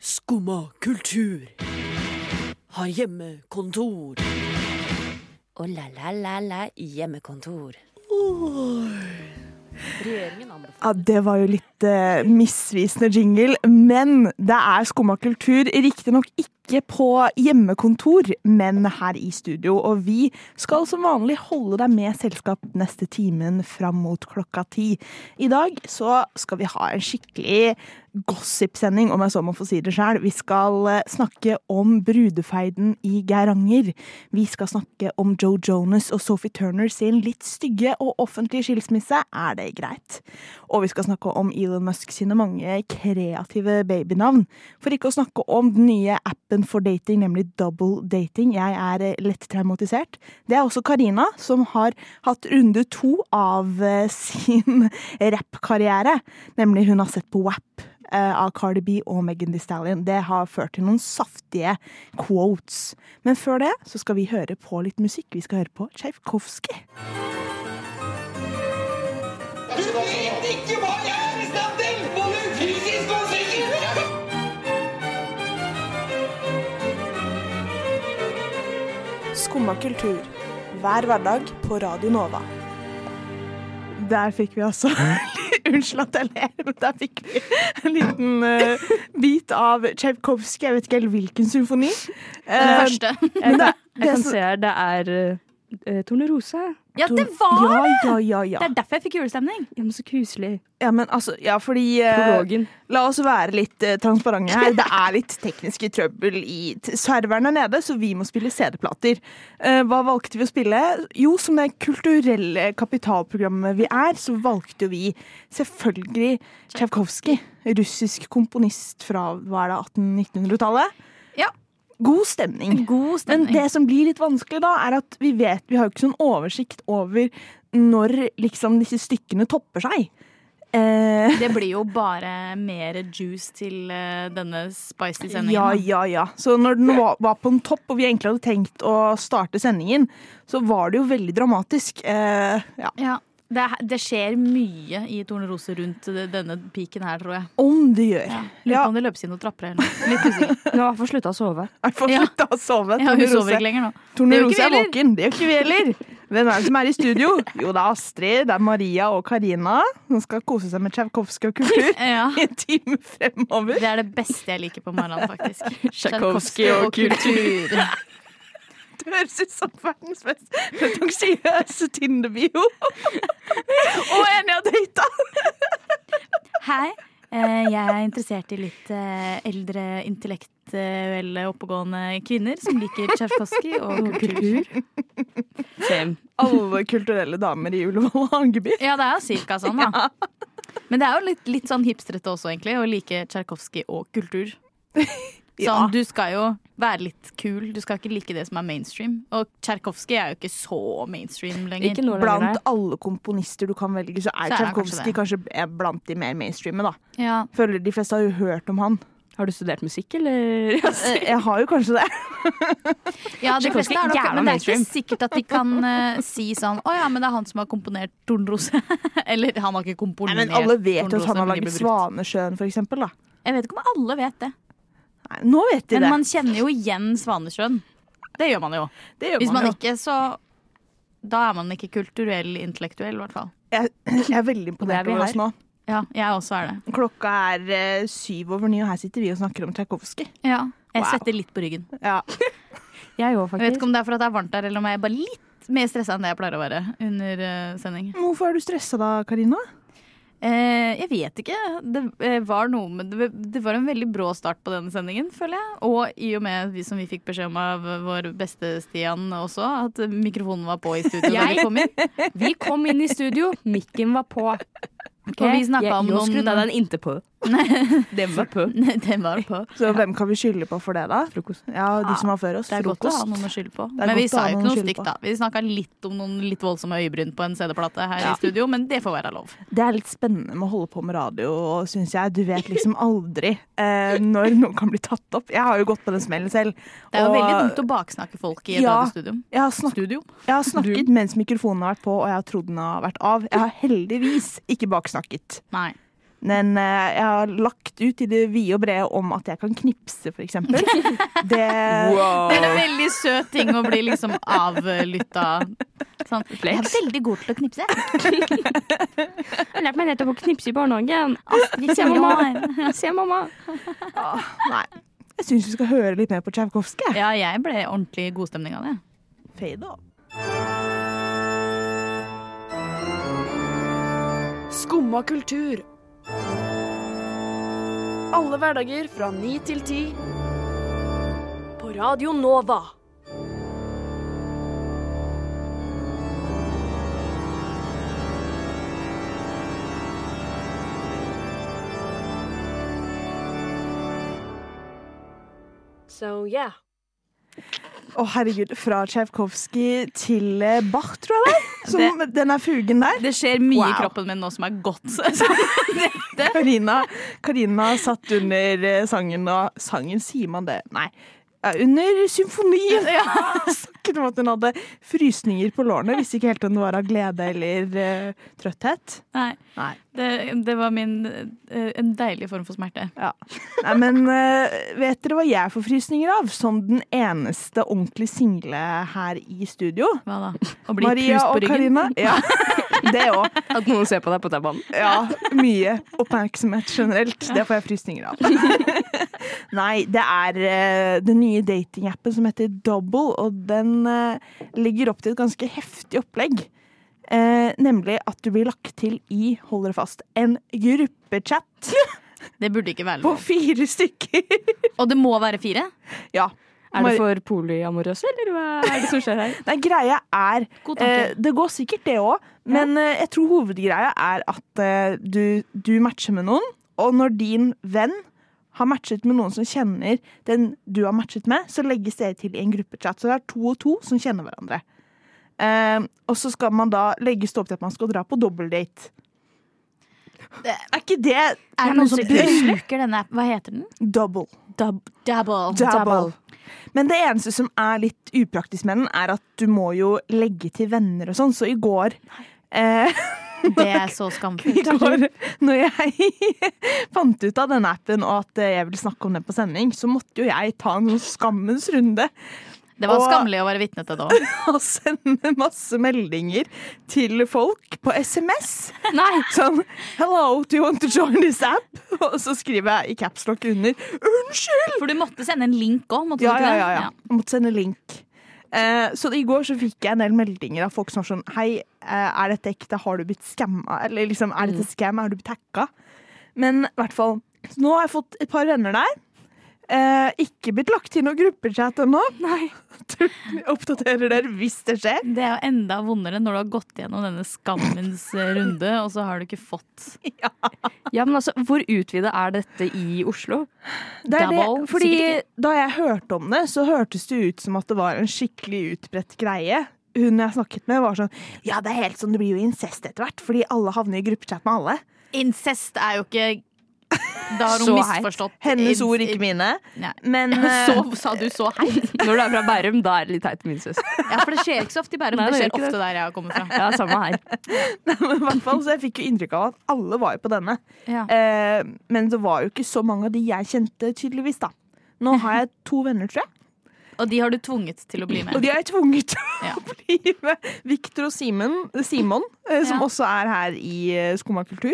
Skumma kultur. Har hjemmekontor. Oh, la, la, la, la, hjemmekontor. Regjeringen anbefaler Ja, det var jo litt eh, misvisende jingle, men det er skumma kultur. Riktignok ikke på hjemmekontor, men her i studio. Og vi skal som vanlig holde deg med selskap neste timen fram mot klokka ti. I dag så skal vi ha en skikkelig gossipsending, om jeg så må få si det sjøl. Vi skal eh, snakke om brudefeiden i Geiranger. Vi skal snakke om Joe Jonas og Sophie Turner sin litt stygge og offentlige skilsmisse. Er det greit? Og vi skal snakke om Elon Musk sine mange kreative babynavn. For ikke å snakke om den nye appen for dating, nemlig Double Dating. Jeg er eh, lett traumatisert. Det er også Karina, som har hatt runde to av eh, sin rappkarriere. Nemlig hun har sett på WAP eh, av Cardi B og Megan Thee Stallion. Det har ført til noen saftige quotes. Men før det så skal vi høre på litt musikk. Vi skal høre på Tsjajkovskij. Du vet ikke hva jeg er i stand til! Både fysisk og psykisk! Skumma kultur. Hver hverdag på Radio Nova. Der fikk vi altså Unnskyld at jeg ler, men der fikk vi en liten eh, bit av Tsjajkovskij. Jeg vet ikke helt hvilken symfoni. Den Eh, første. men det, Jeg det kan som- se her, det er uh, Tornerose. Ja, det var ja, ja, ja, ja. Det er derfor jeg fikk julestemning. Ja, men så kuselig. ja, men altså Ja, fordi eh, Prologen. La oss være litt eh, transparente her. Det er litt tekniske trøbbel i t serverne nede, så vi må spille CD-plater. Eh, hva valgte vi å spille? Jo, som det kulturelle kapitalprogrammet vi er, så valgte jo vi selvfølgelig Tsjajkovskij. Russisk komponist fra hva er det, 1800-1900-tallet. Ja. God stemning. God Men stemning. det som blir litt vanskelig da, er at vi vet, vi har jo ikke sånn oversikt over når liksom disse stykkene topper seg. Eh, Det blir jo bare mer juice til eh, denne Ja, spicy sendingen. da. ja, ja. Så når den var, var på en topp, og vi egentlig hadde tenkt å starte sendingen, så var det jo veldig dramatisk. Eh, ja. Ja. Det, er- det skjer mye i Tornerose rundt det- denne piken her, tror jeg. Om det gjør. Lurer Ja, på om det løpes inn noen trapper eller noe. Litt usikker. Hun har i hvert fall slutta å sove. i hvert fall Ja. slutta å sove. Ja, hun sover Tornerose. ikke lenger nå. Tornerose er Det gjør ikke vi våken. Det gjør ikke vi heller. Hvem er det som er i studio? Jo, det er Astrid, det er Maria og Karina. Som skal kose seg med Tsjajkovskij og kultur Ja. i en time fremover. Det er det beste jeg liker på morgenen, faktisk. Tsjajkovskij og kultur. Det høres ut som verdens mest pretensiøse Tinder-bio. og en jeg har data. Hei. Eh, Jeg er interessert i litt eh, eldre, intellektuelle, oppegående kvinner som liker Tsjajkovskij og kultur. Same. alle kulturelle damer i Ullevål og Hageby. Ja, det er jo cirka sånn, da. Men det er jo litt, litt sånn hipstrete også, egentlig, å like Tsjajkovskij og kultur. Ja. Sånn, Du skal jo være litt kul, du skal ikke like det som er mainstream. Og Tsjajkovskij er jo ikke så mainstream lenger. Ikke nå lenger, Blant alle komponister du kan velge, så er Så er han Tsjajkovskij kanskje, er blant de mer mainstreame, da. Ja. Føler de fleste har jo hørt om han. nei. Har du studert musikk, eller? Ja, Eh, Jeg har jo kanskje det. Ja, de fleste Tchaikovsky er nok, jævla men det er ikke mainstream. sikkert at de kan eh, si sånn Å ja, men det er han som har komponert Tornrose. Eller han har ikke Nei, komponert men alle vet jo at Tornrose, han har men de laget blir brukt. Svanesjøen, for eksempel, da. Jeg vet ikke om alle vet det. Nei, nå vet de Men det. man kjenner jo igjen Svanesjøen. Det gjør man jo. det gjør Hvis man man jo. ikke, så Da er man ikke kulturell intellektuell, i hvert fall. Jeg, jeg er veldig Og det er imponert vi over oss her. nå. Ja, jeg også er det. Klokka er eh, syv over ni, og her sitter vi og snakker om Tsjajkovskij. Ja. Jeg Wow. svetter litt på ryggen. Ja. jeg Jeg òg, vet ikke faktisk. om det er fordi det er varmt der, eller om jeg er bare litt mer stressa enn det jeg pleier å være under eh, sending. Hvorfor er du stressa da, Karina? Eh, jeg vet ikke. Det eh, var noe med det, det var en veldig brå start på denne sendingen, føler jeg. Og i og med vi som vi fikk beskjed om av vår beste Stian også, at mikrofonen var på i studio da Jeg- vi kom inn. Vi kom inn i studio, mikken var på. Og vi snakket om noen noen- skrudde av den inte på. den var på. Den var på. Så hvem kan vi skylde på for det, da? Frokost. Ja, de som var før oss. Det er godt å ha Frokost. noen å skylde på. er Men godt vi å sa ha jo noen å ikke noe skylde på. stygt, da. Vi snakka litt om noen litt voldsomme øyebryn på en CD-plate her i studio, men det får være lov. Det er litt spennende med å holde på med radio, syns jeg. Du vet liksom aldri eh, når noe kan bli tatt opp. Jeg har jo gått på den smellen selv. Det er jo og veldig dumt å baksnakke folk i et Ja. radiostudio. jeg har, snak Studio. jeg har snakket mens mikrofonen har vært på, og jeg har trodd den har vært av. Jeg har heldigvis ikke baksnakket. Nei. Men eh, jeg har lagt ut i det vide og brede om at jeg kan knipse, for eksempel. Det Det er en veldig søt ting å bli liksom avlytta. Sånn. Jeg er veldig god til å knipse. Jeg lærte meg nettopp å knipse i barnehagen. Astrid Se, mamma. Se, mamma. Nei. Jeg syns vi skal høre litt mer på Tsjajkovskij. Ja, jeg ble ordentlig godstemning av det. Fade off. Skumma kultur. Alle hverdager fra ni til ti. På Radio Nova. So yeah. Å, herregud. Fra Tsjajkovskij til eh, Bach, tror jeg det er. Som den er fugen der. Det skjer mye Wow. i kroppen min nå som er godt. Karina, Karina satt under eh, sangen og Sangen, sier man det? Nei. Ja, Under symfonien snakket om at hun hadde frysninger på lårene. Visste ikke helt om det var av glede eller eh, trøtthet. Nei, Nei. det, det var min eh, En deilig form for smerte. Ja. Nei, men eh, vet dere hva jeg får frysninger av? Som den eneste ordentlig single her i studio. Hva da? Å bli pust på og ryggen? Karina. Ja, det òg. At noen ser på deg på den banen. Ja, mye oppmerksomhet generelt. Det får jeg frysninger av. Nei, det er eh, den nye datingappen som heter Double, og den eh, legger opp til et ganske heftig opplegg. Eh, nemlig at du blir lagt til i, hold dere fast, en gruppechat Det burde ikke være på lov. fire stykker. Og det må være fire? Ja. Er det for polyamorøse, eller hva er det som skjer her? Nei, greia er God tanke. eh, Det går sikkert, det òg, men eh, jeg tror hovedgreia er at eh, du, du matcher med noen, og når din venn har matchet med noen som kjenner den du har matchet med, så legges det til i en gruppechat. Så det er to og to som kjenner hverandre. Eh, og så skal man da legges det opp til at man skal dra på dobbeltdate. Er ikke det Er det noen som bruker denne appen? Hva heter den? Double. double. Double. Men det eneste som er litt upraktisk med den, er at du må jo legge til venner og sånn. Så i går eh, Det er så I skamfullt. går når jeg fant ut av den appen og at eh, jeg ville snakke om den på sending, så måtte jo jeg ta en sånn skammens runde Det var Og- skammelig å være vitne til det òg. og sende masse meldinger til folk på SMS. Nei! Sånn 'Hello, do you want to join this app?' Og så skriver jeg i capslock under 'Unnskyld!' For du måtte sende en link òg, måtte Ja, du ja, ikke det? ja, ja. Jeg måtte sende link. Eh, så i går så fikk jeg en del meldinger av folk som var sånn Hei, eh, er dette ekte? Har du blitt skamma? Eller liksom, er dette scam? Er du blitt hacka? Men i hvert fall så Nå har jeg fått et par venner der. Eh, ikke blitt lagt til noen gruppechat ennå. Nei. Oppdaterer dere hvis det skjer. Det er jo enda vondere når du har gått gjennom denne skammens eh, runde, og så har du ikke fått Ja, men altså, Hvor utvida er dette i Oslo? Det er det, Double, fordi sikkert da jeg hørte om det, så hørtes det ut som at det var en skikkelig utbredt greie. Hun jeg snakket med, var sånn Ja, det er helt sånn, det blir jo incest etter hvert, fordi alle havner i gruppechat med alle. Incest er jo ikke Da har hun Så heit. misforstått. Hennes I- ord, i- ikke mine. Nei. Men eh, Så sa du så heit? Når du er fra Bærum, da er det litt teit, min søs. Ja, for det skjer ikke så ofte i Bærum. Nei, Det det skjer gjør ikke ofte der jeg har kommet fra. Ja, samme her. i hvert fall, så jeg fikk jo inntrykk av at alle var jo på denne. Ja. Eh, men det var jo ikke så mange av de jeg kjente, tydeligvis. da. Nå har jeg to venner, tror jeg. Og de har du tvunget til å bli Mm. Og med. de har jeg tvunget til Ja. å bli med. Victor og Simen, Simon, eh, som Ja. også er her i eh, Skumma kultur.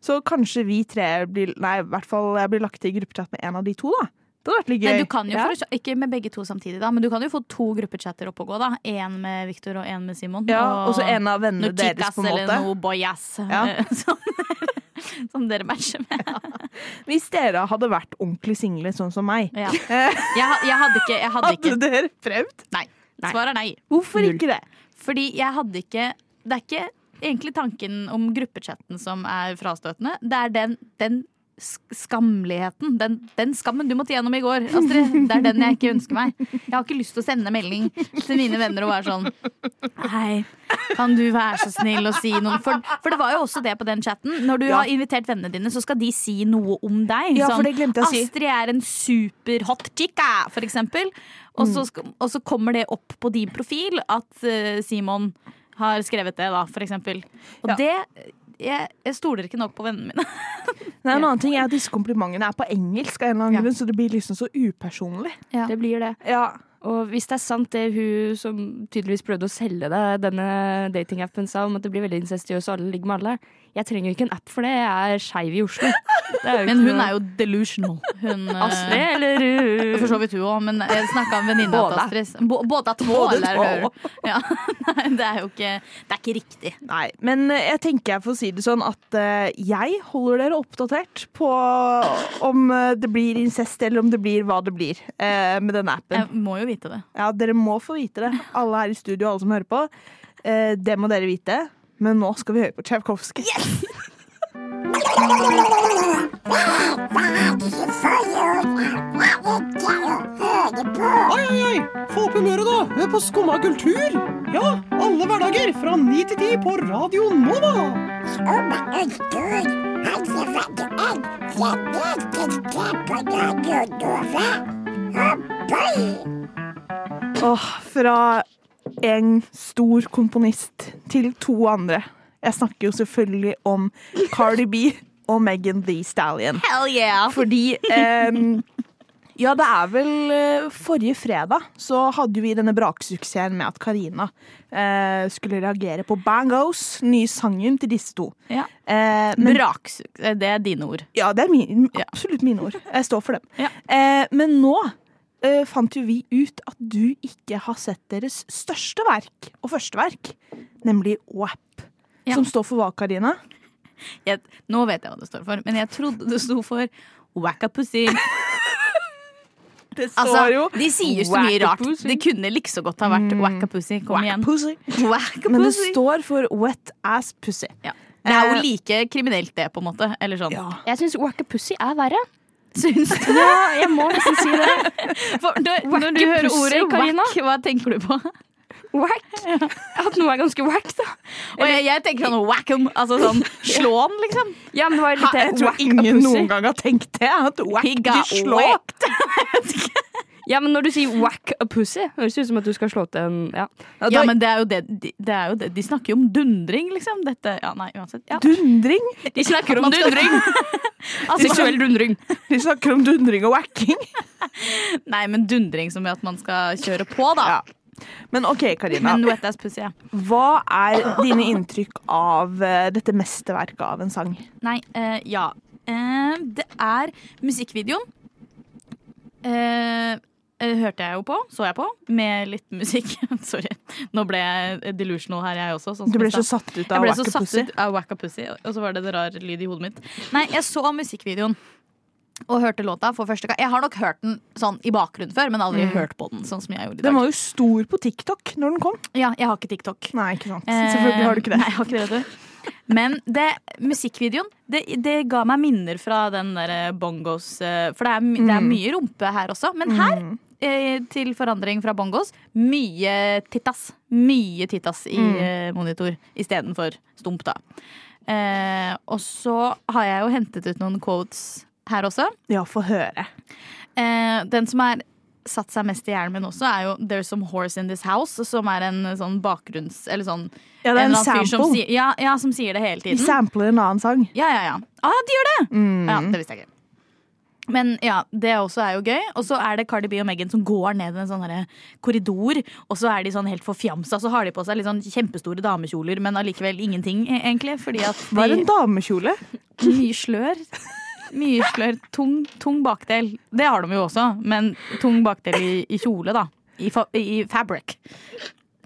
Så kanskje vi tre blir Nei, i hvert fall jeg blir lagt til i gruppechat med en av de to, da. Det hadde vært litt gøy. Men du kan jo Ja. få, ikke med begge to samtidig, da, men du kan jo få to gruppechatter opp og gå. da Én med Victor og én med Simon. ja, Og så en av vennene noe deres, chicas på en måte. eller noe boyas Ja. eh, som, som dere matcher med. Hvis dere hadde vært ordentlig single, sånn som meg, Ja. Jeg, ha- jeg hadde ikke, jeg hadde hadde ikke. dere prøvd? Nei. Svaret er nei. Hvorfor ikke det? Fordi jeg hadde ikke Det er ikke egentlig tanken om gruppechatten som er frastøtende. Det er den, den sk- skamligheten. Den, den skammen du måtte gjennom i går, Astrid. Det er den jeg ikke ønsker meg. Jeg har ikke lyst til å sende melding til mine venner og være sånn Hei, kan du være så snill å si noe? For, for det var jo også det på den chatten. Når du Ja. har invitert vennene dine, så skal de si noe om deg. Ja, Sånn, for det glemte jeg å si. Astrid er en superhot chica, ah, for eksempel. Og Mm. så, sk- og så kommer det opp på din profil at eh, Simon har skrevet det, da, for eksempel. Og Ja. det jeg, jeg stoler ikke nok på vennene mine. Nei, en annen ting er at disse komplimentene er på engelsk, av en eller annen grunn, så det blir liksom så upersonlig. Det blir det. Ja. Og hvis det er sant det hun som tydeligvis prøvde å selge deg denne datingappen sa om at det blir veldig incestiøst og alle ligger med alle, jeg trenger jo ikke en app for det, jeg er skeiv i Oslo. Det jo Men ikke hun noe- er jo delusional. Hun, eh, Astrid, eller uh, For så vidt hun òg, men jeg snakka med en venninne av Både. Astrid. Bo- Båda två, Både eller? två. hører du? Ja. Nei, det er jo ikke Det er ikke riktig. Nei, men eh, jeg tenker jeg får si det sånn at eh, jeg holder dere oppdatert på om eh, det blir incest, eller om det blir hva det blir eh, med denne appen. Jeg må jo vite det. Ja, dere må få vite det. Alle her i studio, alle som hører på. Eh, det må dere vite. Men nå skal vi høre på Tsjajkovskij. Oi, oi, oi! Få opp humøret, da! Hør på Skumma kultur! Ja, alle hverdager fra ni til ti på Radio Nova! Åh, fra en stor komponist til to andre. Jeg snakker jo selvfølgelig om Cardi B og Megan Thee Stallion. Hell yeah! Fordi em, Ja, det er vel eh, forrige fredag så hadde jo vi denne braksuksessen med at Karina eh, skulle reagere på Bangos, nye sangen til disse to. Ja. Eh, men Braksuks. Det er dine ord. ja, det er min, Ja. absolutt mine ord. Jeg står for dem. Ja. Eh, men nå eh, fant jo vi ut at du ikke har sett deres største verk og første verk, nemlig WAP. Ja. Som står for hva, Karina? Jeg, nå vet jeg hva det står for, men jeg trodde det sto for Wackapussy. Det Altså, de sier jo så mye rart. Det kunne like så godt ha vært Wackapussy. Kom igjen. Mm. Pussy. Men det Wackapussy. står for wet ass pussy. Ja. Det er jo Eh, like kriminelt, det, på en måte. Eller sånn. Ja. Jeg syns Wackapussy er verre. Syns du? Ja, jeg må nesten si det. For når, når du hører Wackapussy, ordet Karina. wack, hva tenker du på? Wack. At noe er ganske wack, da. Og jeg, jeg tenker sånn whack'em, altså sånn slå han, liksom. Ja, men det var jo Ha, litt jeg det, tror wack ingen a pussy. noen gang har tenkt det. At whack, He de got slår. whacked. Ja, men når du sier whack a pussy, høres det ut som at du skal slå til en ja. Ja, Ja, da- men det er jo det, de, det er jo det. De snakker jo om dundring, liksom. Dette, ja, nei, uansett. Ja. Dundring? De snakker om At man skal- dundring! Altså, Seksuell dundring. De snakker om dundring og whacking. Nei, men dundring som gjør at man skal kjøre på, da. Ja. Men OK, Karina. Men wet ass pussy, ja. Hva er dine inntrykk av eh, dette mesterverket av en sang? Nei, eh, ja. Eh, det er musikkvideoen. Eh, eh, hørte jeg jo på, så jeg på, med litt musikk. Sorry. Nå ble jeg delusional her, jeg også. Sånn som Du Liksom. ble i så stad. satt ut Jeg av ble så satt wackapussy. ut av Wackapussy, og så var det en rar lyd i hodet mitt. Nei, jeg så musikkvideoen og hørte låta for første gang. Jeg har nok hørt den sånn i bakgrunnen før, men aldri hørt på den sånn som jeg gjorde i Den dag. var jo stor på TikTok når den kom. Ja, jeg har ikke TikTok. Nei, ikke sant. Eh, Selvfølgelig har du ikke det. Nei, jeg har ikke det, vet du. Men det, musikkvideoen det, det ga meg minner fra den der bongos eh, For det er, my- Mm. det er mye rumpe her også. Men her, eh, til forandring fra bongos, mye tittas. Mye tittas i Mm. eh, monitor istedenfor stump, da. Eh, og så har jeg jo hentet ut noen quotes her også. Ja, få høre. Eh, den som er satt seg mest i hjernen min også, er jo 'There's Some Horse In This House', som er en eh, sånn bakgrunns... Eller sånn Ja, det er en eller annen fyr Som sample. Mhm. sier, ja, ja, som sier det hele Vi tiden. sampler en annen sang. Ja, ja, ja. Ah, de gjør det! Mm. Ja, det visste jeg ikke. Men ja, det også er jo gøy. Og så er det Cardi B og Megan som går ned en sånn herre korridor. Og så er de sånn helt forfjamsa, så har de på seg litt sånn kjempestore damekjoler, men allikevel ingenting, eh, egentlig. Fordi at Var de en damekjole. Mye slør. Mye slør. Tung, tung bakdel. Det har de jo også, men tung bakdel i, i kjole, da. I, fa I fabric.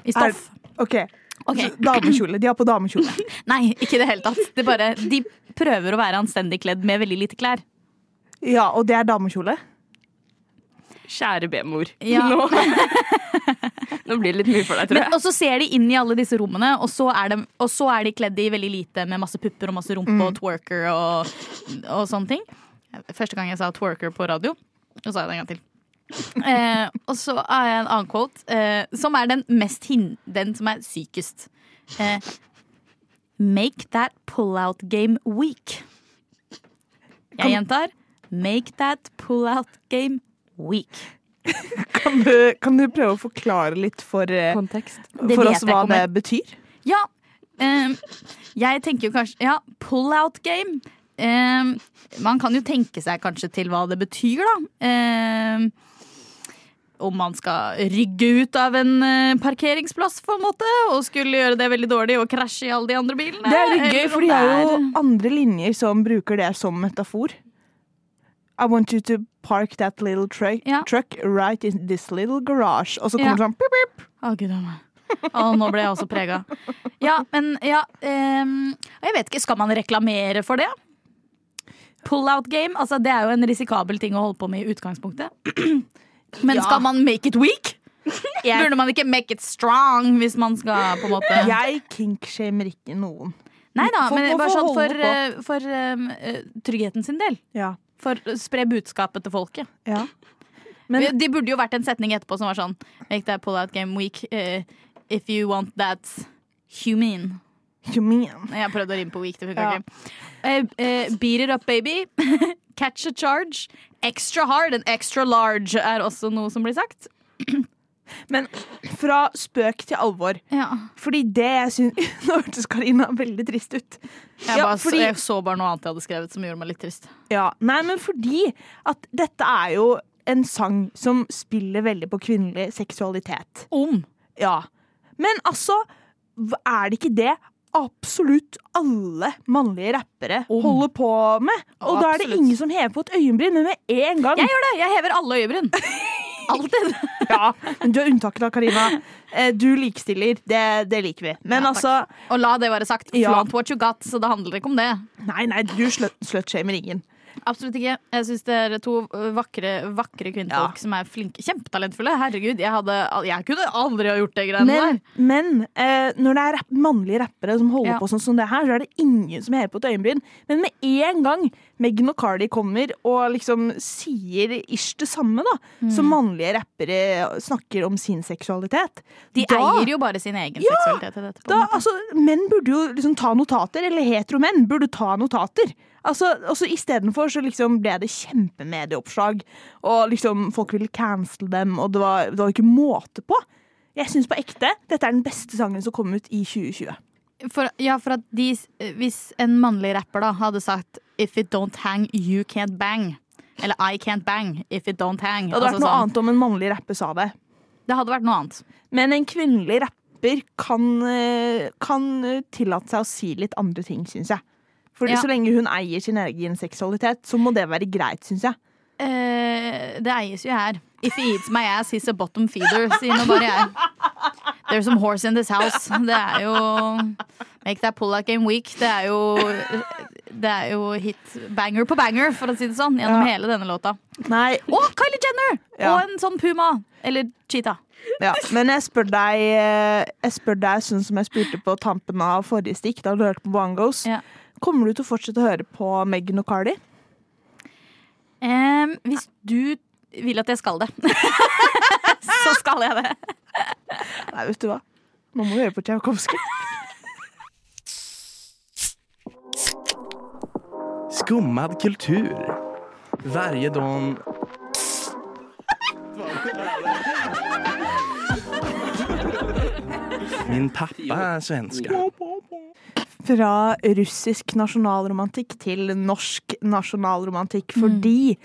I stoff. OK. Ok. Så Damekjole. De har på damekjole. Nei, ikke i det hele tatt. Det er bare, de prøver å være anstendig kledd med veldig lite klær. Ja, og det er damekjole. Kjære bemor. Ja. Nå. Nå blir det litt mye for deg, tror Men, jeg. og så ser de inn i alle disse rommene, og så er de, og så er de kledd i veldig lite med masse pupper og masse rumpe og Mm. twerker og, og sånne ting. Første gang jeg sa twerker på radio, så sa jeg det en gang til. Eh, og så har jeg en annen quote, eh, som er den mest hin den som er sykest. Eh, make that pull-out game weak. Jeg gjentar. Make that pull-out game weak. Kan du, kan du prøve å forklare litt for, eh, Kontekst. Det for vet oss jeg hva ikke om det jeg- betyr? Ja, Eh, jeg tenker jo kanskje Ja, pull out game. Eh, man kan jo tenke seg kanskje til hva det betyr, da. Eh, om man skal rygge ut av en eh, parkeringsplass, på en måte, og skulle gjøre det veldig dårlig og krasje i alle de andre bilene. Det er litt gøy, eller om for de har det jo er- andre linjer som bruker det som metafor. I want you to park that little truck, Ja. truck right in this little garage. Og så kommer Ja. det sånn pip, pip. Å, gud a meg. Å, nå ble jeg også prega. Ja, men ja ehm, Jeg vet ikke, skal man reklamere for det? Pull-out game, altså det er jo en risikabel ting å holde på med i utgangspunktet. Men skal man make it weak? Burde man ikke make it strong hvis man skal på en måte Jeg kinkshamer ikke noen. Nei da, Folk men må bare få sånn holde for, på. eh, for ehm, eh, tryggheten sin del. Ja. For å spre budskapet til folket. ja. Men- det burde jo vært en setning etterpå som var sånn Make that pull-out game weak eh, if you want that human. You mean. Jeg prøvde å rime på week, det funka Ja. ikke. Eh, eh, beat it up, baby. Catch a charge. Extra hard and extra large er også noe som blir sagt. Men fra spøk til alvor. Fordi det jeg syns Nå hørtes Karina veldig trist ut. Jeg, Ja, bare, fordi- så, jeg så bare noe annet jeg hadde skrevet som gjorde meg litt trist. Ja, nei, men fordi at dette er jo en sang som spiller veldig på kvinnelig seksualitet. Om. Ja. Men altså, hva- er det ikke det absolutt alle mannlige rappere holder på med? Og da er det Absolutt. ingen som hever på et øyenbryn, men med en gang. Jeg gjør det! Jeg hever alle øyebryn. Alltid. Ja, men du er unntaket da, Karina. Eh, Du likestiller, det, det liker vi. Men Ja, takk. altså, Og la det være sagt. Ja. Flaunt what you got, så det handler ikke om det. nei, nei, du slut- slutshamer ingen. Absolutt ikke. Jeg syns det er to ø, vakre, vakre Ja. kvinnfolk som er flinke. Kjempetalentfulle. Herregud, jeg, hadde, jeg kunne aldri ha gjort det greiene Men, der. men eh, når det er rapp, mannlige rappere som holder Ja. på sånn som det her, så er det ingen som hever på et øyenbryn. Men med en gang Meghan og Cardi kommer og liksom sier ish det samme, da, Mm. som mannlige rappere snakker om sin seksualitet De da, eier jo bare sin egen seksualitet. i dette, på en da, måte. altså, Menn burde jo liksom ta notater, eller heteromenn burde ta notater. Altså, altså Istedenfor så liksom ble det kjempemedieoppslag, og liksom folk ville cancel dem, og det var, det var ikke måte på. Jeg syns på ekte dette er den beste sangen som kom ut i 2020. For, ja, for at de, hvis en mannlig rapper da hadde sagt If it don't hang, you can't bang. Eller I can't bang if it don't hang. Det hadde Altså vært noe sånn. annet om en mannlig rapper sa det. det hadde vært noe annet. Men en kvinnelig rapper kan, eh, kan eh, tillate seg å si litt andre ting, syns jeg. For Ja. Så lenge hun eier sin egen seksualitet, så må det være greit, syns jeg. Eh, det eies jo her. If he eats my ass, he's a bottom feeder, sier nå bare jeg. There's some horse in this house. Det er jo Make that pull-out game weak. Det er jo, det er jo hit banger på banger, for å si det sånn, gjennom hele denne låta. Nei, Og Kylie Jenner! Ja. Og en sånn puma. Eller cheetah. ja. Men jeg spør deg, eh, jeg spør deg sånn som jeg spurte på tampen av forrige stikk, da du hørte på Bangos. Ja. Kommer du til å fortsette å høre på Meghan og Cardi? Em, hvis du vil at jeg skal det, så skal jeg det. Nei, vet du hva. Nå må vi høre på Tchaikovsky. Skummad kultur. Varje dag... Min pappa är svenska. Fra russisk nasjonalromantikk til norsk nasjonalromantikk, fordi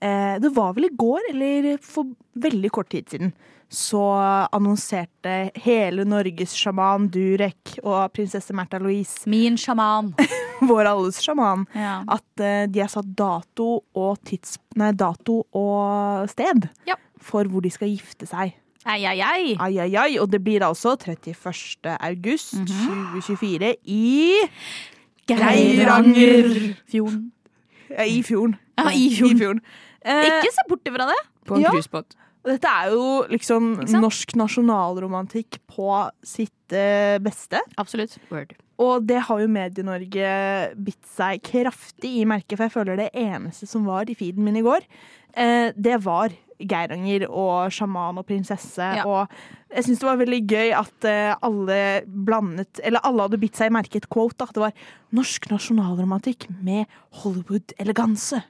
eh, det var vel i går, eller for veldig kort tid siden, så annonserte hele Norges sjaman Durek og prinsesse Märtha Louise, Min sjaman. vår alles sjaman, Ja. at eh, de har satt dato og, tids, nei, dato og sted Ja. for hvor de skal gifte seg. Ei, ei, ei. Ai, ai, ai. Og det blir altså 31. august Mhm. 2024 i Geiranger. Fjorden. Ja, I fjorden. Ja, i fjorden. Eh, Ikke se bort ifra det. På en Ja. cruisebåt. Dette er jo liksom Ikke sant? norsk nasjonalromantikk på sitt eh, beste. Absolutt. Og det har jo Medie-Norge bitt seg kraftig i merket, for jeg føler det eneste som var i feeden min i går, eh, det var Geiranger og sjaman og prinsesse. Ja. Og jeg syns det var veldig gøy at eh, alle blandet Eller alle hadde bitt seg i merket quote. Da. Det var 'norsk nasjonalromantikk med Hollywood-eleganse'.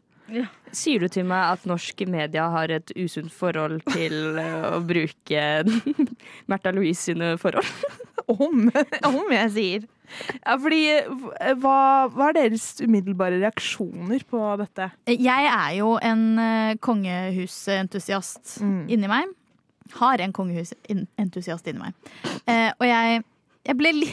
Sier du til meg at norsk media har et usunt forhold til eh, å bruke Märtha Louise sine forhold? Om, om jeg sier. Ja, fordi eh, hva, hva er deres umiddelbare reaksjoner på dette? Eh, Jeg er jo en eh, kongehusentusiast Mm. inni meg. Har en kongehusentusiast inni meg. Eh, og jeg, jeg, ble li,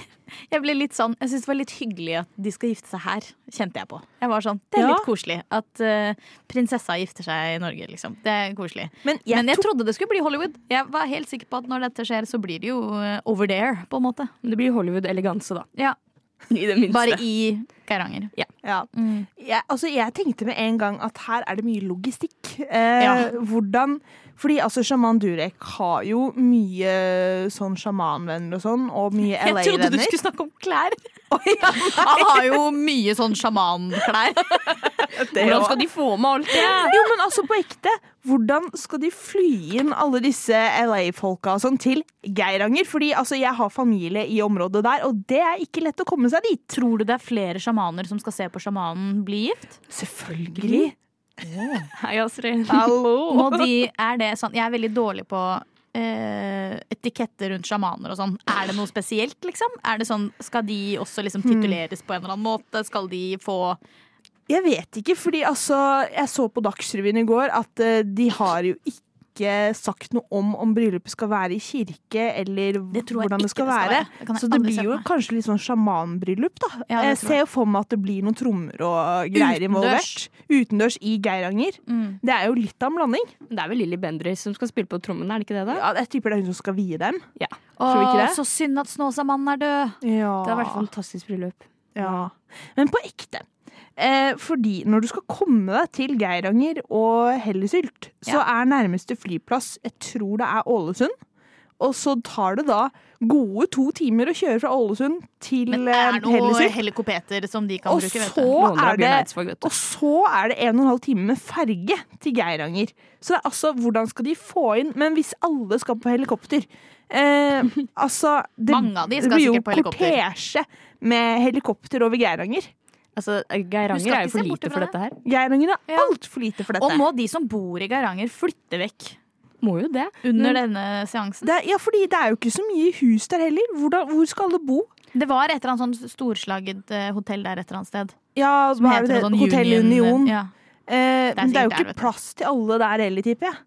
jeg ble litt sånn Jeg syns det var litt hyggelig at de skal gifte seg her, kjente jeg på. Jeg var sånn, Det er Ja. litt koselig at eh, prinsessa gifter seg i Norge, liksom. Det er koselig. Men jeg Men jeg trodde det skulle bli Hollywood. Jeg var helt sikker på at når dette skjer, så blir det jo eh, over there, på en måte. Men det blir Hollywood-eleganse, da. Ja, I det minste. Bare i Geiranger. Ja. Mm. jeg, altså jeg tenkte med en gang at her er det mye logistikk. Eh, Ja. Hvordan Fordi altså sjaman Durek har jo mye sånn sjamanvenner og sånn, og mye Jeg trodde du LA-venner. skulle snakke om klær. Han har jo mye sånn sjamanklær. Hvordan skal de få med alt det? Jo, men altså på ekte, hvordan skal de fly inn alle disse LA-folka og sånn til Geiranger? Fordi altså jeg har familie i området der, og det er ikke lett å komme seg dit. Tror du det er flere sjamaner som skal se på sjamanen bli gift? Selvfølgelig. Hei, Astrid. Hallo. Må de, er det sånn, jeg er veldig dårlig på eh, etiketter rundt sjamaner og sånn. Er det noe spesielt, liksom? Er det sånn, skal de også liksom tituleres på en eller annen måte? Skal de få Jeg vet ikke, fordi altså Jeg så på Dagsrevyen i går at eh, de har jo ikke sagt noe om om bryllupet skal være i kirke eller Det tror jeg hvordan det ikke skal det skal være. være. Det kan jeg så det aldri se blir jo for meg. kanskje litt sånn sjamanbryllup, da. Ja, det jeg tror ser jo for meg at det blir noen trommer og greier involvert. Utendørs i Geiranger. Mm. Det er jo litt av en blanding. Det er vel Lilly Bendriss som skal spille på trommene, er det ikke det? da? Ja, jeg tipper det er hun som skal vie dem. Ja. Tror Tror vi ikke det? Så synd at Snåsamannen er død. Ja. Det har vært et fantastisk bryllup. Ja. Men på ekte. Eh, fordi når du skal komme deg til Geiranger og Hellesylt, så er nærmeste flyplass jeg tror det er Ålesund. Og så tar det da gode to timer å kjøre fra Ålesund til Men eh, er det noen Hellesylt. helikopeter som de kan Og bruke? vet så du? Låner av er det Bjørn Eidsvåg, vet du. og så er det en og en halv time med ferge til Geiranger. Så det er altså hvordan skal de få inn Men hvis alle skal på helikopter eh, Altså, det Mange av de skal blir jo sikkert på helikopter. kortesje med helikopter over Geiranger. Altså, Du Geiranger skal er jo ikke se for bort lite fra for det. dette her. Geiranger er Ja. altfor lite for dette. Og må de som bor i Geiranger, flytte vekk Må jo det. Mm. under denne seansen? det, er- ja, fordi det er jo ikke så mye hus der heller. Hvordan, hvor skal alle bo? Det var et eller annet sånn storslaget eh, hotell der et eller annet sted. Ja, Som hva er heter det? noe sånn Hotell Union- Union. Ja. Eh, men det er jo sikkert der, ikke vet du. plass til alle der heller, tipper jeg.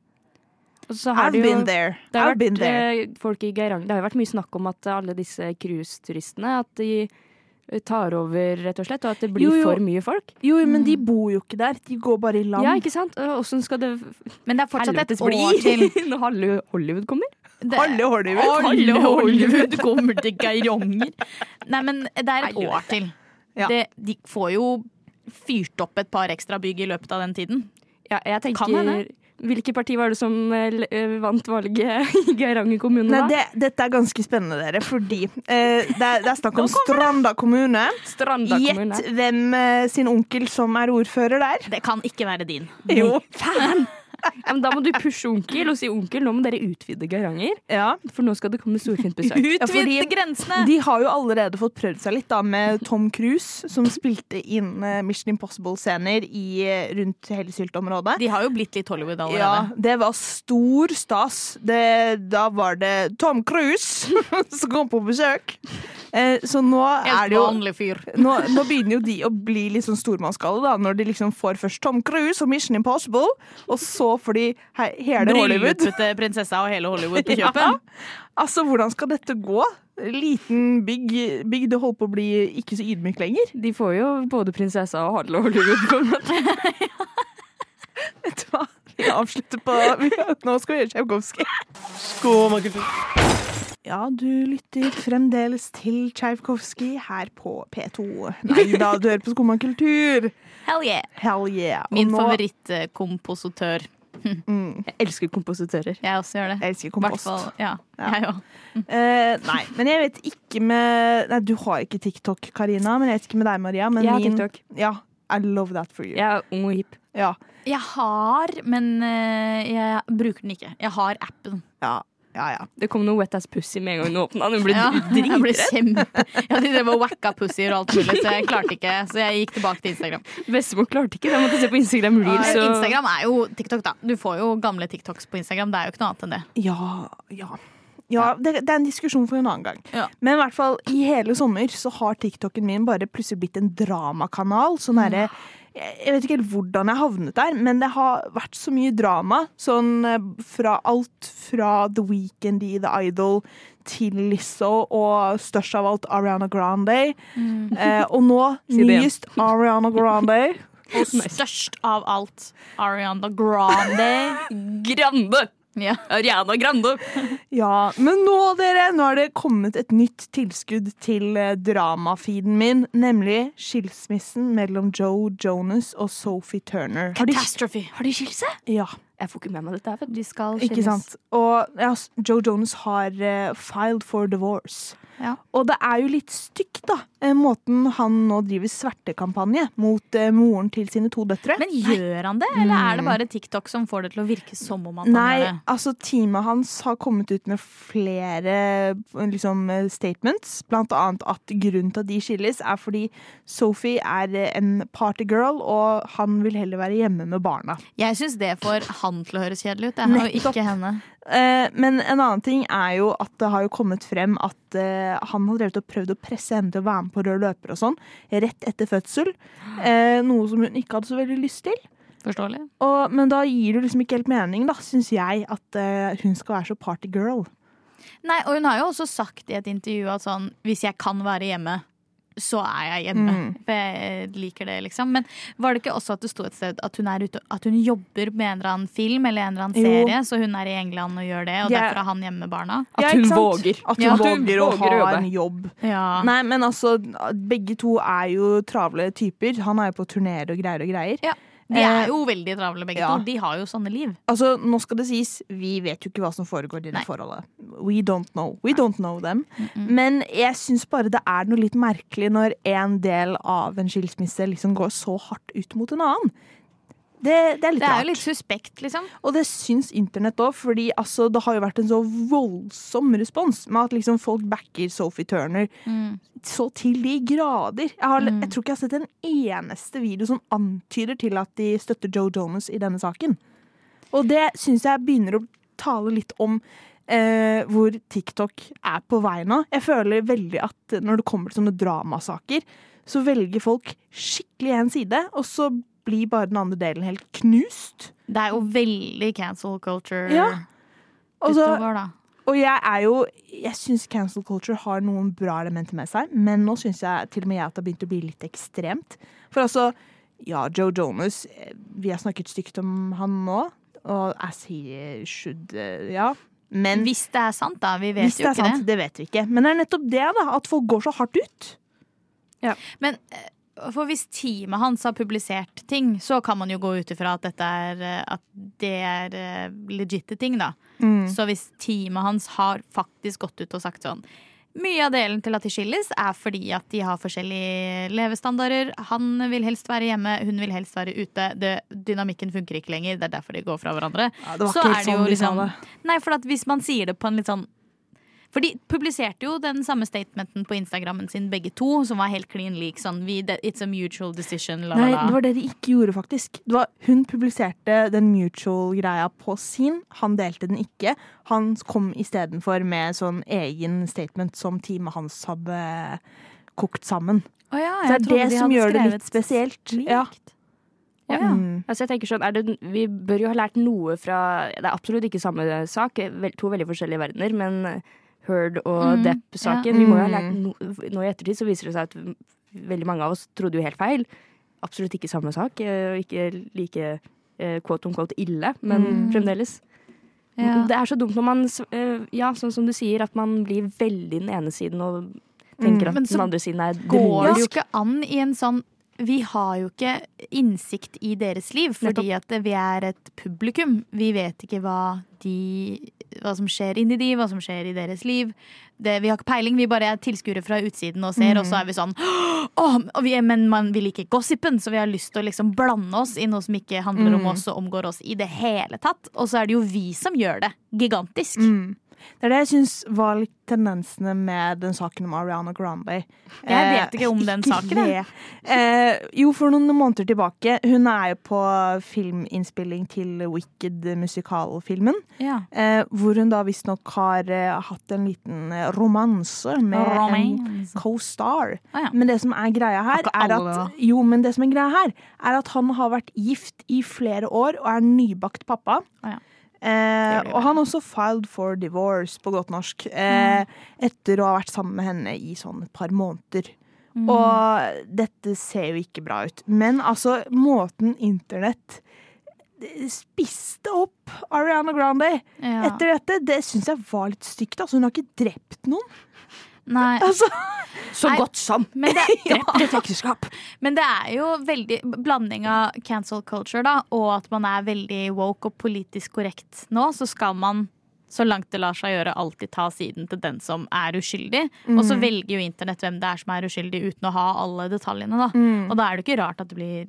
Og så har I've det jo, been there. det har I've been vært, there. eh, folk i Geiranger, det har jo vært mye snakk om at alle disse cruiseturistene At de tar over, rett og slett, og at det blir Jo, jo. for mye folk. Jo, men de bor jo ikke der. De går bare i land. Ja, ikke sant? Og Åssen skal det Men det er fortsatt helvetes et år til. bli når halve Hollywood kommer? Det, Alle holder ut. Alle Hollywood kommer til Geiranger! Nei, men det er et år til. Ja. Det, de får jo fyrt opp et par ekstra bygg i løpet av den tiden. Ja, jeg Kan hende. tenker Hvilket parti var det som eh, l- eh, vant valget i Geiranger kommune, Nei, da? det, dette er ganske spennende, dere, fordi eh, det, er, det er snakk om Stranda kommune. Stranda kommune. Gjett hvem eh, sin onkel som er ordfører der. Det kan ikke være din. Jo. Ja, men da må du pushe onkel og si onkel, nå må dere utvide Geiranger. Ja. For nå skal det komme storfint besøk. Utvide fordi- grensene! De har jo allerede fått prøvd seg litt da, med Tom Cruise, som spilte inn eh, Mission Impossible-scener i, eh, rundt Hellesylt-området. De har jo blitt litt Hollywood Ja, allerede. det var stor stas. Det, da var det Tom Cruise som kom på besøk. Eh, så nå er Helt det jo vanlig fyr. nå, nå begynner jo de å bli litt sånn stormannsgale, da, når de liksom får først Tom Cruise og Mission Impossible, og så får de he hele Hollywood. Bryllupete eh, prinsessa og hele Hollywood på kjøpet. Altså, hvordan skal dette gå? Liten bygg, bygd holder på å bli ikke så ydmyk lenger. De får jo både prinsessa og Hadle Hollywood. på en måte. Vet du hva? Vi avslutter på Nå skal vi gjøre Tsjajkovskij. Skumma kultur. Ja, du lytter fremdeles til Tsjajkovskij her på P2. Nei da, du hører på Skumma kultur. Hell yeah! Hell yeah. Og Min nå- favorittkompositør. Mm, Jeg elsker kompositører. Jeg også gjør det. jeg elsker Hvert kompost. fall, ja, Ja. Jeg òg. Eh, nei, men jeg vet ikke med Nei, du har ikke TikTok, Karina, men jeg vet ikke med deg, Maria. Men Jeg har min, TikTok. Ja, I love that for you. Jeg er ung og hipp. Ja, Jeg har, men eh, jeg bruker den ikke. Jeg har appen. ja, ja. ja. Det kom noe wet ass pussy med en gang hun åpna. Hun ble Ja, jeg ble dritredd. kjempe Ja, De drev og wacka pussyer og alt mulig, så jeg klarte ikke. Så jeg gikk tilbake til Instagram. Bestemor klarte ikke det. Jeg måtte se på Instagram Reels. og- Instagram er jo TikTok, da. Du får jo gamle TikToks på Instagram. Det er jo ikke noe annet enn det. Ja, ja. Ja, det, det er en diskusjon for en annen gang. Ja. Men i hvert fall, i hele sommer så har TikToken min bare plutselig blitt en dramakanal. Sånn derre jeg jeg vet ikke helt hvordan jeg havnet der, men det har vært så mye drama. Sånn eh, fra alt fra The Weekend i The Idol til Lizzo og størst av alt Ariana Grande. Eh, og nå Si det igjen. nyest Ariana Grande. Og størst av alt, Ariana Grande. Grande! Ja. Ariana Grande! Ja, men nå, dere, nå er det kommet et nytt tilskudd til eh, dramafeeden min, nemlig skilsmissen mellom Joe Jonas og Sophie Turner. Har de- Catastrophe. Har de skilt seg? Ja, Jeg får ikke med meg dette. her, vet du. De skal ikke sant? Og ja, s- Joe Jonas har eh, filed for divorce. Ja. Og det er jo litt stygt, da, eh, måten han nå driver svertekampanje mot eh, moren til sine to døtre. Men gjør han det, eller er det bare TikTok som får det til å virke som om han Mm. Nei, gjør det? altså teamet hans har kommet ut med flere liksom, statements. Blant annet at grunnen til at de skilles er fordi Sophie er en partygirl, og han vil heller være hjemme med barna. Jeg syns det får han til å høres kjedelig ut, jeg, og Nettopp. ikke henne. Eh, men en annen ting er jo at det har jo kommet frem at eh, han har drevet og prøvd å presse henne til å være med på rød løper og sånn, rett etter fødsel. Eh, noe som hun ikke hadde så veldig lyst til. Forståelig? Og, men da gir det liksom ikke helt mening, da, syns jeg, at eh, hun skal være så partygirl. Nei, og hun har jo også sagt i et intervju at sånn Hvis jeg kan være hjemme, så er jeg hjemme. Mm. For jeg eh, liker det, liksom. Men var det ikke også at det sto et sted at hun, er ute, at hun jobber med en eller annen film eller en eller annen Jo. serie, så hun er i England og gjør det, og Jeg- derfor er han hjemme med barna? At Ja, hun ikke sant? våger. At hun Ja. våger å At hun ha våger å jobbe. en jobb. Ja. Nei, men altså, begge to er jo travle typer. Han er jo på turneer og greier og greier. Ja. De er Eh, jo veldig travle, begge ja. to. De har jo sånne liv. Altså, nå skal det sies, vi vet jo ikke hva som foregår i det Nei. forholdet. We don't know. We don't know them. Men jeg syns bare det er noe litt merkelig når en del av en skilsmisse liksom går så hardt ut mot en annen. Det, det er litt Det er rart. jo litt suspekt, liksom. Og det syns internett òg, fordi altså, det har jo vært en så voldsom respons med at liksom folk backer Sophie Turner så til de grader. Jeg, har, jeg tror ikke jeg har sett en eneste video som antyder til at de støtter Joe Jonas i denne saken. Og det syns jeg begynner å tale litt om eh, hvor TikTok er på vei nå. Jeg føler veldig at når det kommer til sånne dramasaker, så velger folk skikkelig én side, og så blir bare den andre delen helt knust. Det er jo veldig cancel culture Ja. Og så- utover, da. Og jeg er jo Jeg syns cancel culture har noen bra elementer med seg, men nå syns jeg til og med jeg at det har begynt å bli litt ekstremt. For altså, ja, Joe Jonas eh, Vi har snakket stygt om han nå, og as he should eh, Ja. Men Hvis det er sant, da. Vi vet hvis det jo er ikke sant, det. det vet vi ikke. Men det er nettopp det, da. At folk går så hardt ut. Men eh, for hvis teamet hans har publisert ting, så kan man jo gå ut ifra at dette er eh, At det er eh, legitte ting, da. Mm. Så hvis teamet hans har faktisk gått ut og sagt sånn mye av delen til at de skilles, er fordi at de har forskjellige levestandarder. Han vil helst være hjemme, hun vil helst være ute. Det, dynamikken funker ikke lenger. Det er derfor de går fra hverandre. Ja, det var Så ikke er helt det sånn jo de sa liksom- det. Nei, for at hvis man sier det på en litt sånn For de publiserte jo den samme statementen på Instagrammen sin, begge to, som var helt clean lik. Sånn vi, det- It's a mutual decision, la, Nei, la, det la. var det de ikke gjorde, faktisk. Det var, hun publiserte den mutual-greia på sin. Han delte den ikke. Han kom istedenfor med sånn egen statement som teamet hans hadde kokt sammen. Så det er det som gjør det litt spesielt. Mm. Ja. Ja. Altså, jeg tenker sånn, er det, vi bør jo ha lært noe fra Det er absolutt ikke samme sak, vel, to veldig forskjellige verdener, men eh, Heard og Mm, Depp-saken Vi må jo ha lært no, Nå i ettertid så viser det seg at veldig mange av oss trodde jo helt feil. Absolutt ikke samme sak, eh, og ikke like eh, quote on quote ille, men fremdeles. Mm. Ja. Det er så dumt når man, s- eh, ja, sånn som du sier, at man blir veldig den ene siden og tenker Mm. Men at så den andre siden er Går demoner. det jo ikke an i en sånn vi har jo ikke innsikt i deres liv, fordi at vi er et publikum. Vi vet ikke hva, de, hva som skjer inni de, hva som skjer i deres liv. Det, vi har ikke peiling, vi bare er tilskuere fra utsiden og ser, og Mm. så er vi sånn Åh, og vi, men man vil ikke gossipen, så vi har lyst til å liksom blande oss i noe som Mm. ikke handler om oss og omgår oss i det hele tatt. Og så er det jo vi som gjør det. Gigantisk. Mm. Det er det jeg syns var litt tendensene med den saken om Ariana Grande. Eh, Jeg vet ikke om den saken, jeg. det. Eh, jo, for noen måneder tilbake. Hun er jo på filminnspilling til Wicked-musikalfilmen. Ja. Eh, hvor hun da visstnok har eh, hatt en liten eh, romanse med Romance. en co-star. Ah, ja. Men det som er greia her, ikke er alle at, jo, men det som er greia her, er at han har vært gift i flere år og er nybakt pappa. Ah, ja. Eh, Det blir og han har også filed for divorce, på godt norsk, Mm. eh, etter å ha vært sammen med henne i sånn et par måneder. Mm. Og dette ser jo ikke bra ut. Men altså, måten internett eh, spiste opp Ariana Grande Ja. etter dette, det syns jeg var litt stygt. Altså, hun har ikke drept noen. Nei, Altså, Så Nei. godt som! men det, Drept et ekteskap. men det er jo veldig blanding av cancel culture da, og at man er veldig woke og politisk korrekt nå, så skal man så langt det lar seg gjøre, alltid ta siden til den som er uskyldig. Og Mm. så velger jo internett hvem det er som er uskyldig, uten å ha alle detaljene. da. Mm. Og da er det ikke rart at det blir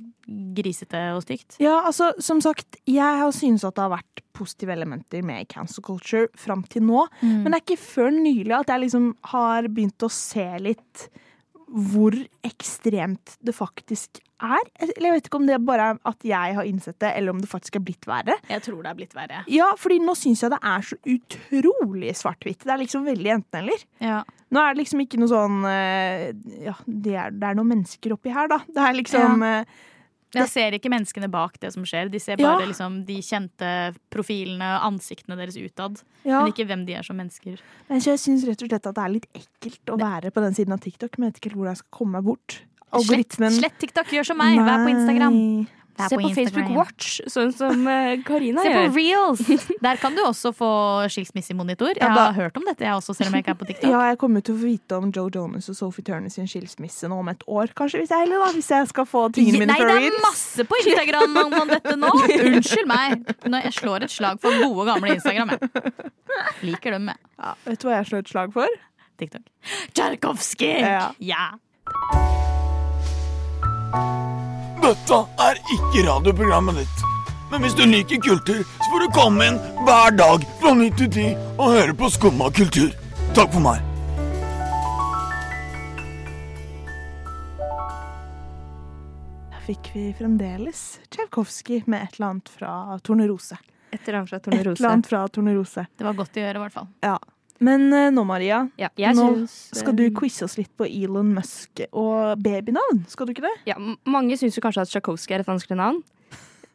grisete og stygt. Ja, altså, som sagt, jeg har synes at det har vært positive elementer med cancel culture fram til nå. Men det er ikke før nylig at jeg liksom har begynt å se litt hvor ekstremt det faktisk er. Eller jeg vet ikke om det bare er at jeg har innsett det, eller om det faktisk er blitt verre. Jeg tror det er blitt verre. Ja, fordi nå syns jeg det er så utrolig svart-hvitt. Det er liksom veldig enten-eller. Ja. Nå er det liksom ikke noe sånn eh, Ja, det er, det er noen mennesker oppi her, da. Det er liksom eh, Jeg ser ikke menneskene bak det som skjer. De ser Ja. bare liksom, de kjente profilene og ansiktene deres utad. ja. Men ikke hvem de er som mennesker. Men så jeg syns rett og slett at det er litt ekkelt å være på den siden av TikTok, men jeg vet ikke helt hvordan jeg skal komme meg bort. Slett, Algoritmen- slett TikTok, gjør som meg! Vær på Instagram. Nei. Vær Se på Facebook Instagram. Watch, sånn som eh, Karina Se på gjør. Reels! Der kan du også få skilsmissemonitor. Jeg Ja, da- har hørt om dette, jeg også, selv om jeg ikke er på TikTok. Ja, jeg kommer til å få vite om Joe Jonas og Sophie Turner sin skilsmisse nå om et år, kanskje, hvis jeg heller, da. Hvis jeg skal få tingene mine Nei, fra det er Reels. masse på Instagram om om dette nå! Unnskyld meg! Når jeg slår et slag for gode, gamle Instagram. Jeg. Liker dem, jeg. Ja, vet du hva jeg slår et slag for? TikTok. Tjarkovskij! Ja. ja. Dette er ikke radioprogrammet ditt. Men hvis du liker kultur, så får du komme inn hver dag fra 9 til 10 og høre på Skumma kultur. Takk for meg. Da fikk vi fremdeles Tsjajkovskij med et eller annet fra Tornerose. Et eller annet fra Et eller Tornerose. annet fra Tornerose. Det var godt å gjøre, i hvert fall. Ja. Men eh, nå, Maria, Ja, jeg Nå syns, eh, skal du quize oss litt på Elon Musk og babynavn, skal du ikke det? ja, m- Mange syns jo kanskje at Tsjajkovskij er et vanskelig navn.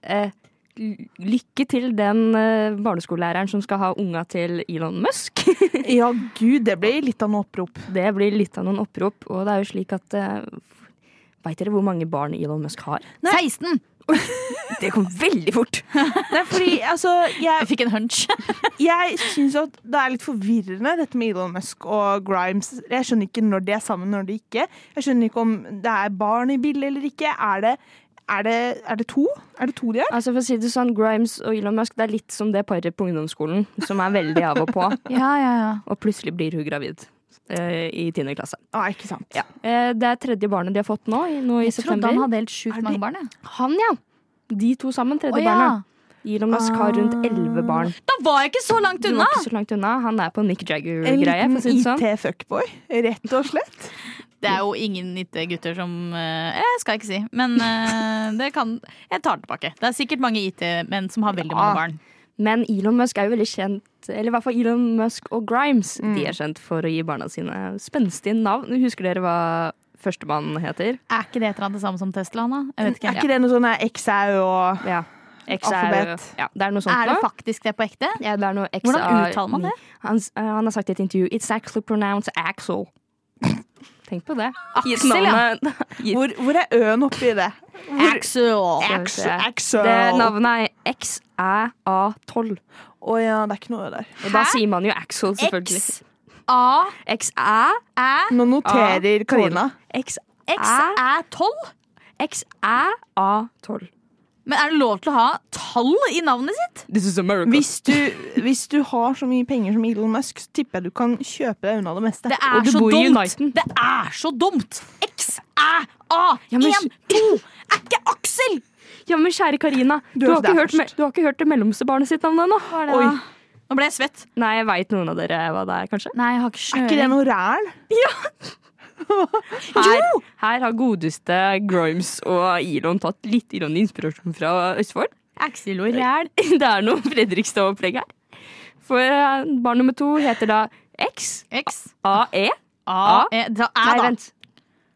Eh, l- lykke til den eh, barneskolelæreren som skal ha unga til Elon Musk. Ja, gud, det blir litt av noe opprop. det blir litt av noen opprop, og det er jo slik at eh, Veit dere hvor mange barn Elon Musk har? 16! Det kom veldig fort! Nei, fordi altså, Jeg jeg, fikk en hunch. jeg syns at det er litt forvirrende, dette med Elon Musk og Grimes. Jeg skjønner ikke når de er sammen, når de ikke. Jeg skjønner ikke om det er barn i bildet eller ikke. Er det, er det, er det to? Er det to de er? Altså for å si det sånn, Grimes og Elon Musk det er litt som det paret på ungdomsskolen som er veldig av og på, Ja, ja, ja. og plutselig blir hun gravid eh, i tiende klasse. Ah, ikke sant. Eh, det er tredje barnet de har fått nå, i- nå i Jeg trodde september. han Han, hadde helt sjukt mange barn. jeg. ja! De to sammen, tredje Å, ja. barnet. Elon Musk har rundt elleve barn. Da var jeg ikke så langt Du var unna! ikke så langt Ah. unna. Han er på Nick En Jagger-greie, liten for å si det sånn. IT-fuckboy, rett og slett. Det er jo ingen IT-gutter som eh, Jeg skal ikke si, men eh, det kan Jeg tar det tilbake. Det er sikkert mange IT-menn som har veldig Ja. mange barn. Men Elon Musk er jo veldig kjent Eller i hvert fall Elon Musk og Grimes. De er kjent for å gi barna sine spenstige navn. Husker dere hva førstemann heter? Er ikke det et eller annet det samme som Tesla? Da? Jeg vet ikke. Er ikke det noe sånn her XAU og Ja. X er, Alfabet. ja, det er noe sånt. Er det nå. faktisk det på ekte? ja, det er noe X Hvordan er- uttaler man det? Han, s- eh, han har sagt i et intervju It's actually pronounced Axel. Tenk på det. Aksel, ja. Hvor, hvor er øen oppi det? Axel. Axel. Det Å navnet er XÆA12. ja, det er ikke noe ø der. Og da sier man jo Axel, selvfølgelig. X. A. XÆ Nå noterer Ah, Karina. X X er tolv. XÆA12. Men er det lov til å ha tall i navnet sitt? This is America. Hvis du, hvis du har så mye penger som Elon Musk, så tipper jeg du kan kjøpe deg unna det meste. Det er Og du så bor i dumt! Uniten. Det er så dumt! X er A. Ja, men- Én, to. Er ikke Aksel! Ja, men kjære Karina, du, er har der ikke hørt, først. me- du har ikke hørt det mellomste barnet sitt navn ennå. Oi. Nå ble jeg svett. Nei, jeg veit noen av dere hva det er, kanskje? Nei, jeg har ikke Er ikke det noe ræl? Her, her har godeste Grimes og Elon tatt litt grann inspirasjon fra Østfold. Axel og ræl. Det er noe Fredrikstad-opplegg her. For eh, barn nummer to heter da X. XAE. A. E. Da er Nei, da. vent.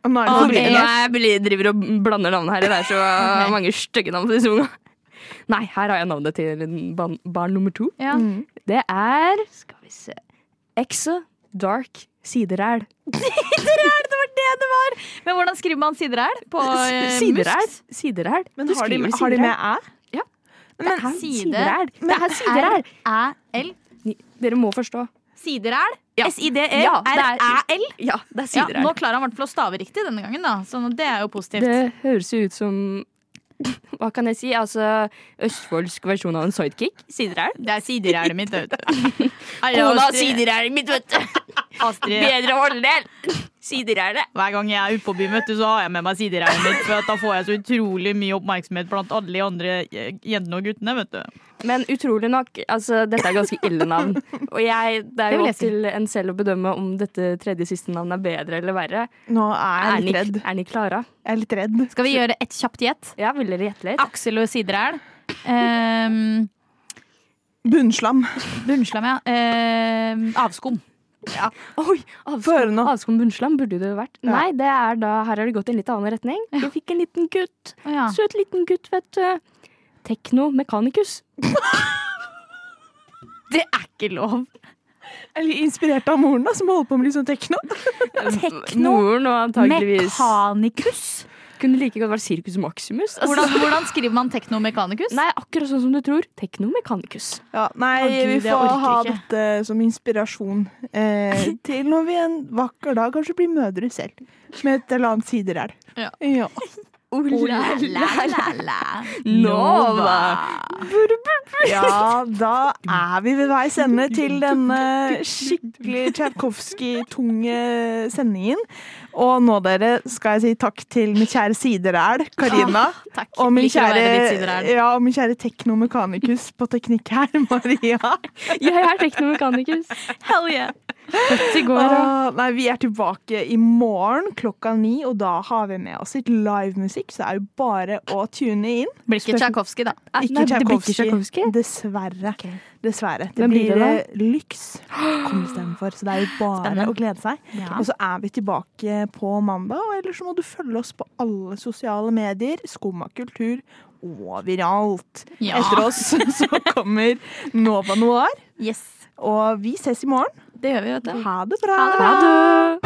Nå er det Nå forvirrende. jeg blir- driver og blander navn her. Det er så mange stygge navn på disse unga. Nei, her har jeg navnet til en barn, barn nummer to. Ja. Det er Skal vi se Exo Dark Sideræl. Sideræl, det var det det var! Men hvordan skriver man sideræl? På eh, Sideræl? muskt? Sideræl. Men Du har de, skriver har de med sideræl. æ? Ja. Men, Det er Side- sideræl. Det er sideræl. R-æ-l. Dere må forstå. Sideræl? Ja. Ja, det E, er- S-i-d-e-r-æ-l? Ja, det Ja, er sideræl. nå klarer han i hvert fall å stave riktig denne gangen, da. Så det er jo positivt. Det høres jo ut som Hva kan jeg si? Altså østfoldsk versjon av en sidekick. Sideræl. Det er siderælet mitt, vet du. Kona Astrid, siderælet mitt, vet du. Astrid, Bedre hånddel. Siderælet. hver gang jeg er ute på byen, vet du, så har jeg med meg siderælet mitt. For at da får jeg så utrolig mye oppmerksomhet blant alle de andre eh, jentene og guttene, vet du. Men utrolig nok, altså, dette er ganske ille navn. Og jeg, det er Det jo vil jeg opp si. til en selv å bedømme om dette tredje siste navnet er bedre eller verre. Nå er jeg Er litt ni, redd. er ni klare? Jeg er litt redd. Skal vi gjøre et kjapt gjett? Ja, vil dere gjette litt? Aksel og sideræl. Um, Bunnslam. Bunnslam, ja. Ehm, avskum. Oi, Få høre nå. Avskum Bunnsland burde det jo vært. Nei, det er da, her har det gått i en litt annen retning. Vi fikk en liten gutt. Så- Søt liten gutt, vet du. Teknomekanikus. Det er ikke lov. Jeg er litt inspirert av moren da, som holder på med litt sånn tekno. Moren og antageligvis Mekanikus? Kunne like godt vært Circus Maximus. Altså, Hvordan, hvordan skriver man teknomekanikus? Nei, akkurat sånn som du tror. Teknomekanikus. Ja, nei, Å, Gud, vi jeg får orker ha ikke. dette som inspirasjon eh, til når vi en vakker dag kanskje blir mødre selv. Med et eller annet sideræl. Ja. ja. Nova. Ja, da er vi ved veis ende til denne skikkelig Tchaikovsky-tunge sendingen. Og nå, dere, skal jeg si takk til min kjære sideræl, Karina. Takk. Og min Liker å være ditt kjære, sideræl. ja, og min kjære teknomekanikus på teknikk her, Maria. Jeg er teknomekanikus. Hell yeah. Født i går. og- Åh, nei, vi er tilbake i morgen klokka ni, og da har vi med oss litt livemusikk, så det er jo bare å tune inn. Blir ikke Tsjajkovskij, da. Ikke Nei, det blir ikke Tchaikovsky. Tchaikovsky. Dessverre. Dessverre. Det Hvem blir blir, det da? eh, Lyx kommer istedenfor, så det er jo bare å glede seg. Og så er vi tilbake på mandag, og ellers så må du følge oss på alle sosiale medier. Skumma kultur overalt. Ja. Etter oss så kommer Nova Noir, Yes. og vi ses i morgen. Det gjør vi, vet du. Ha det bra! Ha det.